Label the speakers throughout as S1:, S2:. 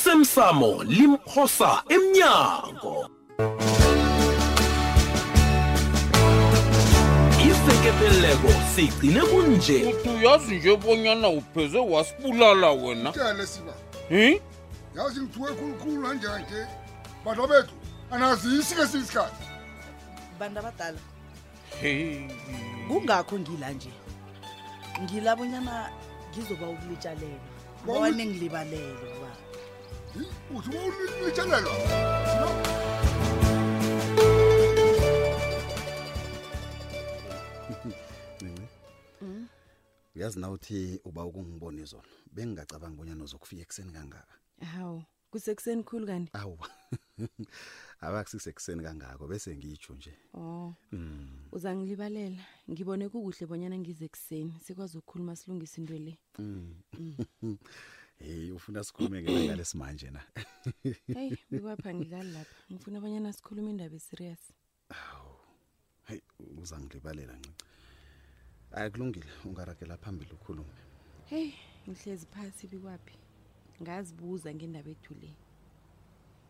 S1: osemsamo limphosa emnyango isekepheleleko sigcine kunje
S2: uthi uyazi nje bonyana upheze wasibulala wena
S3: tyale siba
S2: hi
S3: yazi ngithuke khulukhulu nanjanje bantu bethu anazisi kesinye isikhathi
S4: bantu abadala
S2: Hey.
S4: kungakho ngila nje ngila bonyana ngizoba ukulitshalelwa
S3: Wa-
S4: bona ngilibalele uba
S3: Hi, uthi ulitshelelwa
S5: ncinci uyazi na uthi uba ukungibone zona bengingacabanga bonyana uzokufika ekuseni kangaka
S6: hawu kusekuseni khulu kanti
S5: awu abakusisekuseni kangako bese ngitsho nje
S6: o Oh. Mm. uzangilibalela ngibone kukuhle bonyana ngize ekuseni sikwazi ukukhuluma silungise into le
S5: heyi ufuna sikhulume-ke nangalesimanje na
S6: heyi bikwapha ngidlali lapha ngifuna abanyana sikhulume indaba eserious
S5: heyi uzangilibalela ncinci ayi kulungile ungaragela phambili ukhulume
S6: heyi ngihlezi phasi bikwaphi ngazibuza ngendaba ethu le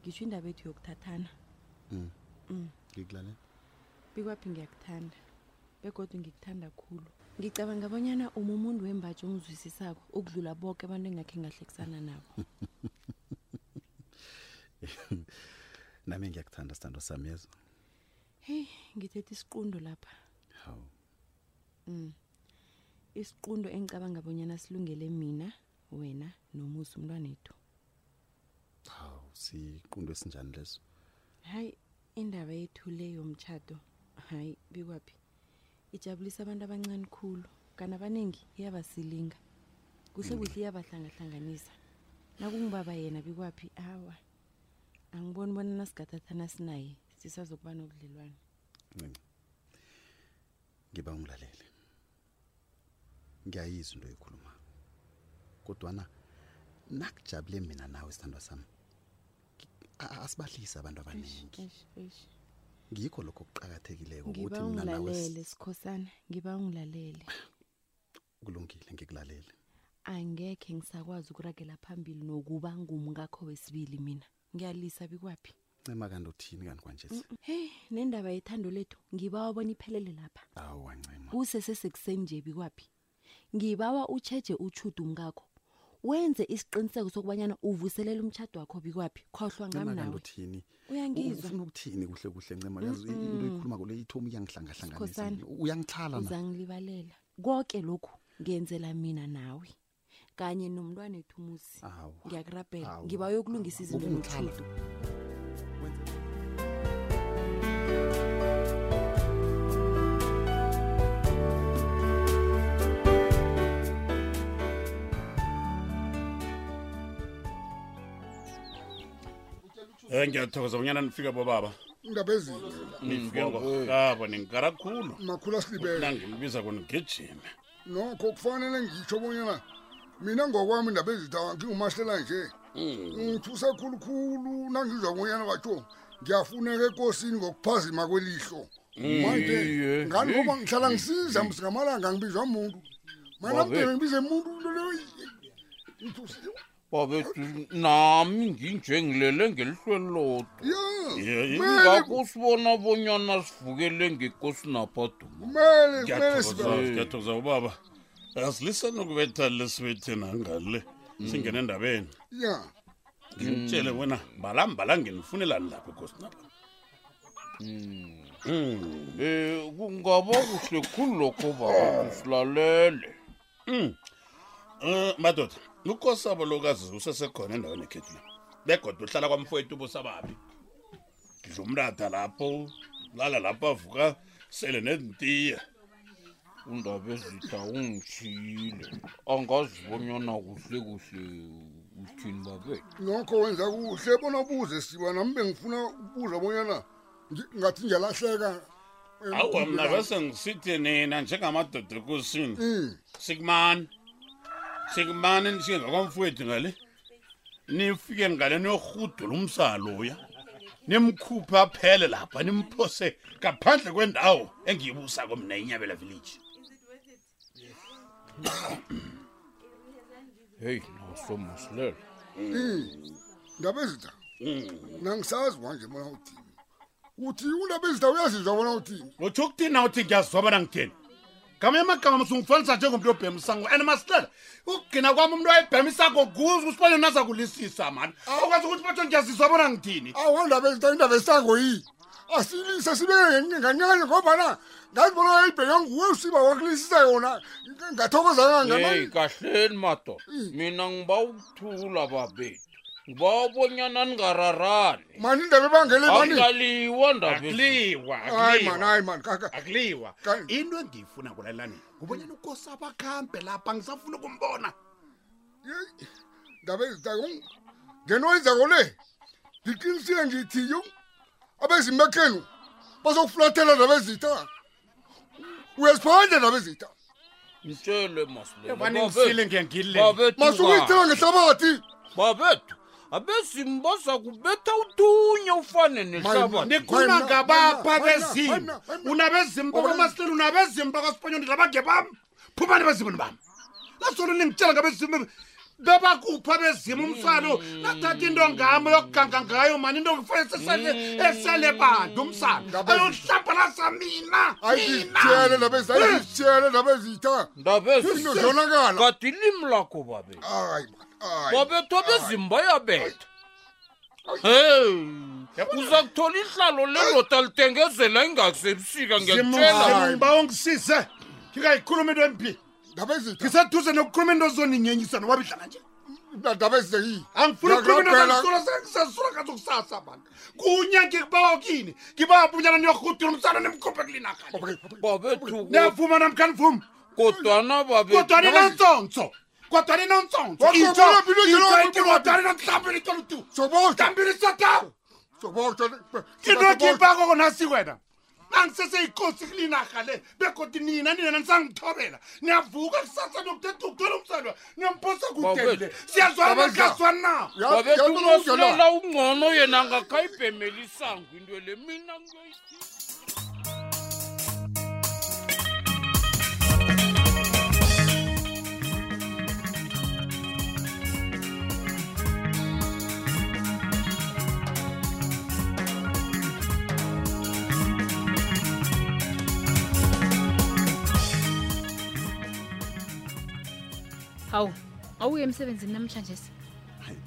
S6: ngisho indaba ethu yokuthathana
S5: ngikulalela
S6: bikwaphi ngiyakuthanda begodwa ngikuthanda khulu ngicabanga abanyana uma umuntu wembatshi ongizwisisako ukudlula boke abantu engakhe ngahlekisana nabo
S5: nami ngiyakuthanda sithando sami yezo
S6: heyi ngithethe isiqundo lapha
S5: hawu
S6: isiqundo engicabanga bonyana silungele mina wena nomusa umntwanethu
S5: hawu siqundo esinjani leso
S6: hayi indaba yethu le yomtshado hayi bikwaphi ijabulisa abantu abancane khulu kana abaningi iyabasilinga kuhle kuhle iyabahlangahlanganisa nakungibaba yena bikwaphi awa angiboni bona nasigathathana sinaye sisazokuba nobudlelwane
S5: ncinci ngiba ungilalele ngiyayizwa into oyikhuluma kodwana nakujabule mina nawe sithandwa sami ngi- a- asibahlise abantu abaningi
S6: Eish, eish.
S5: ngikho lokho okuqakathekileko
S6: ngiba
S5: ukuthi mina nawe
S6: ungilalele
S5: si-
S6: sikhosana ngiba ungilalele
S5: kulungile ngikulalele
S6: angekhe ngisakwazi ukuragela phambili nokuba ngumkakho wesibili mina ngiyalisa bikwaphi
S5: ncema kanti uthini kanti kwanje
S6: heyi nendaba yethando lethu ngibawa bona iphelele lapha
S5: awu wancema
S6: kusesesekuseni nje bikwaphi ngibawa utshetshe utshudu mkakho wenze isiqiniseko sokubanyana uvuselela umtshado wakho bikwaphi khohlwa ngam
S5: ncema kanti
S6: nawe
S5: uthini
S6: uyangizwa
S5: ufuna ukuthini kuhle kuhle ncema uyazi i- into oyikhuluma kule ithomi iyangihlangahlanganisa
S6: Sikhosana.
S5: mina. uyangithala na
S6: uzangilibalela konke lokhu ngenzela mina nawe kanye nomntwana ethu musi
S5: Awa.
S6: ngiyakurabhela
S5: Awa.
S6: ngiba yokulungisa izinto
S5: Ukungithala.
S6: notshudu
S2: Eh, ngiyathokoza bonyana nifika bobaba
S3: indaba ezinto
S2: nifike ngokabo ningikara khulu
S3: makhulu asilibele
S2: nangimbiza konigijime
S3: nokho kufanele ngitsho bonyana mina ngokwami indaba ezitha ngingumahlela nje ngithuse khulukhulu nangizwa bonyana batsho ngiyafuneka ekosini ngokuphazima kwelihlo manje
S2: Iye.
S3: ngani ngoba ngihlala ngisiza msingamalanga ngibizwa muntu mana
S2: Babe.
S3: mdebe ngibize muntu into leyo ngithuse
S2: babethu nami nginje ngilele ngelihlweni lodwa
S3: ya kumele
S2: ngakho sibona bonyana sivukele ngekosinaphaduma
S3: kumele kumele sibe
S7: ngiyathokoza ubaba asilisani ukubetha lesibethe nangale singene endabeni
S3: ya
S7: ngimtshele wena mbalambala nginifunelani lapho kosinapa
S2: Eh kungaba kuhle khulu lokho baba silalele.
S7: um madoda ukosabo lokazi usesekhona endaweni ekhethu la begoda uhlala kwamfowethu ubusababi ngidla umrada lapho lala lapho avuka sele nezintiya
S2: Undaba ezitha ungishile. Angazibonyana kuhle kuhle uthini babe.
S3: nokho wenza kuhle bona ubuze siba nami bengifuna ukubuza bonyana ngi- ngathi ngiyalahleka eh,
S7: awa mna
S3: ngibeka-
S7: bese ngisithi nina njengamadoda ekosini
S3: Mm.
S7: sikumani sikumani nishike ngakwamfowethu ngale nifike ngale niyorhudula umsaloya nimkhuphe aphele lapha nimphose ngaphandle kwendawo engiyibusako mna inyabela village
S2: Hey, naso musilela.
S3: Mm. ndaba ezitha nangisazi kwanje bona uthini uthi undaba ezitha uyazizwa bona uthini
S7: utsho ukuthini na uthi ngiyazizwa bona ngitheni ngamanye amagama sungifanisa njengomntu obhema isango and masihlela ukugcina kwami umntu ayibhema isango kuze usibone naza kulisisa mani okwenza ukuthi batsho ngiyazizwa bona ngithini
S3: awa ndaba ezitha indaba esisango yi asilise sibeke kancane ngobana ngazi bona uyayibheka nguwe usiba wakulisisa yona ngathokoza
S2: eyi
S3: kangama
S2: kahleni madoda mina ngiba ukuthula babethu ngiba ubonyana ningararani
S3: mani indaba ebangele mani
S2: angaliwa ndaba
S7: Akuliwa,
S3: hayi mani
S7: akuliwa
S3: hayi mani kaka
S7: akuliwa
S3: Ka-
S7: into engiyifuna kulalelani ngubonyana ukosi abakhambe lapha ngisafuna ukumbona
S3: Yeyi, ndaba ezitako ngento oyenzako le ndiqinisile ndithiyo abezimekhenu bazokufulathela ndaba ezitha uyaziphanda ndaba ezitha
S2: mtshele
S7: baningisile
S2: masilebabe
S7: ngiyangile
S3: masukuyithela ngehlabathi
S2: babethu abezimo bazakubetha uthunya ufane
S3: Mani-
S2: nehlabathi
S7: nikhona
S3: Wena,
S7: ngabapha
S3: wena,
S7: bezimu
S3: wena, wena.
S7: unabezimu bakwamasilela unabezimu bakwasiponyoni labange bam phumani bezimuni bami lasolo ningitshela ngabezimu bebakupha bezimu umsalo nathatha into ngami yokuganga ngayo mani into ngifanele esele bantu umsalo
S3: Ngabe-
S7: ayohlambalaza mina Eh.
S3: ayizitshele ndaba ezitha ayizitshele ndaba ezitha into
S2: ndabezi
S3: zonakala
S2: kati ilimi lakho babethu
S3: hayi mani hayi
S2: babethwa bezimba yabetha heyi
S7: Yabona?
S2: uza kuthola ihlalo lendoda litengezela ingakisebusika ngiyakutshela
S3: Zimu-
S7: bawongisize ngingayikhuluma into embi
S3: ndaba ezitha
S7: ngiseduze nokukhuluma into zoninyenyisa nowabidlala nje
S3: ndaba ezitha yiyi
S7: angifuna
S3: Ngiyakulaphela.
S7: ukukhuluminasasurakaz ukusasa mani kunye ngikubawa kini ngibawa bunyana niyorhudula umsana nimkhuphe kulinakha
S2: babethu
S7: niyavuma namkha nivuma
S2: kodwana
S7: kodwa
S2: babethu
S7: ninontsonso kodwa ninontsonso
S3: Wakho bona philo nje lo-
S7: kodwa ninonhlambili tolutu
S3: sobotha
S7: hlambilisata into ekipako konasi wena angiseseyikosi kulinarha le begodi nina nina nisangithobela niyavuka kusasa niyokuthetha ukuthola umsalwa niyamposa kudele
S2: Babethu.
S7: siyazwana
S3: Babethu.
S7: nakaswana
S2: babethu umasilela ungcono yena angakhayibhemela isango into le mina ngiyoyi-
S8: hawu awuye emsebenzini namhlanje
S9: hayi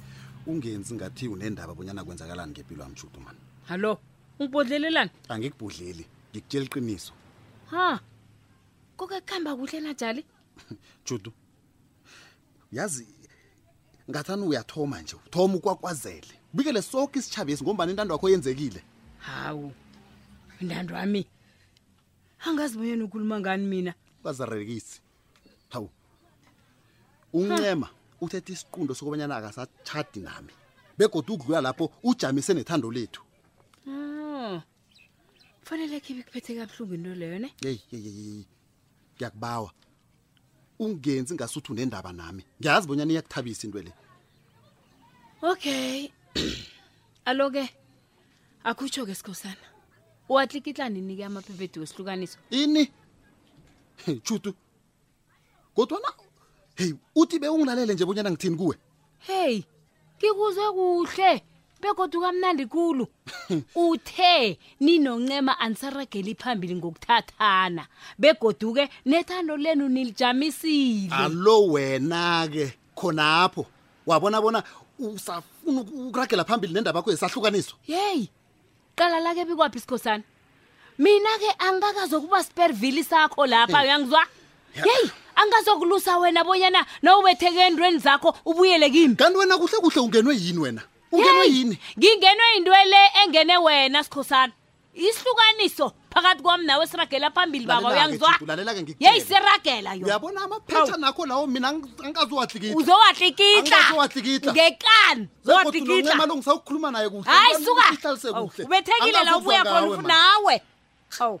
S9: ungenzi ngathi unendaba bonyana kwenzakalani ngempilo yamshudu mani
S8: hallo ungibodlelelani
S9: angikubudleli ngikutshela iqiniso
S8: ha koke kuhamba kuhle najali
S9: judu yazi ngathani uyathoma nje uthoma ukwakwazele ubikele soke isitshhabesi ngombani intando yakho yenzekile
S8: hawu intando wami angazi bonyana ukhuluma ngani mina
S9: kwazarekisi hawu uncema uthethe isiqundo sokubanyana akasatshadi nami begodwa ukudlula lapho ujamise nethando lethu
S8: Oh. fanele khibe kuphethe kabuhlungu into leyo ne
S9: yeyi yeyi, yeyi yeyi. ngiyakubawa ungenzi ngasuthi unendaba nami ngiyazi bonyana iyakuthabisa into le
S8: okay alo-ke akutsho-ke sikhosana uwatlikitlani-ke amaphephedu wesihlukaniso
S9: ini Hey, chutu kodwana heyi uthi beungilalele nje bonyana ngithini kuwe
S8: heyi ngikuzwe kuhle begodwa kamnandi kulu uthe ninoncema anisarageli phambili ngokuthathana begoduke nethando lenu nilijamisile
S9: alo wena-ke khonapho wabona bona usafuna uku- ukuragela phambili nendaba yakho yesahlukaniso
S8: yeyi qala lake bikwaphi isikhosana mina-ke angakazokuba spervili sakho lapha uyangizwa yeyi angazokulusa wena bonyana nawubetheke endweni zakho ubuyele kimi
S9: kanti wena kuhle kuhle ungenwe yini wena ungenwe
S8: Yeyi,
S9: yini
S8: ngingenwe yintwele engene wena sikhosana isihlukaniso phakathi kwami nawe siragela phambili baba
S9: Lalela-ke,
S8: uyangizwa
S9: Judu, lalela-ke ngikutjele.
S8: yeyi siragela yo
S9: uyabona amaphetha nakho lawo mina ang- angaziwatlikitla Angizowatlikitla.
S8: uzowatlikitla ngekani zowatlikitla
S9: lo ngisawukhuluma naye kuhle
S8: hayi
S9: Ngibani
S8: suka
S9: ukuthi ihlalise
S8: Awu,
S9: kuhle.
S8: ubethekile la
S9: Angazuzwa
S8: ubuya
S9: ngawe,
S8: khona
S9: man.
S8: nawe hawu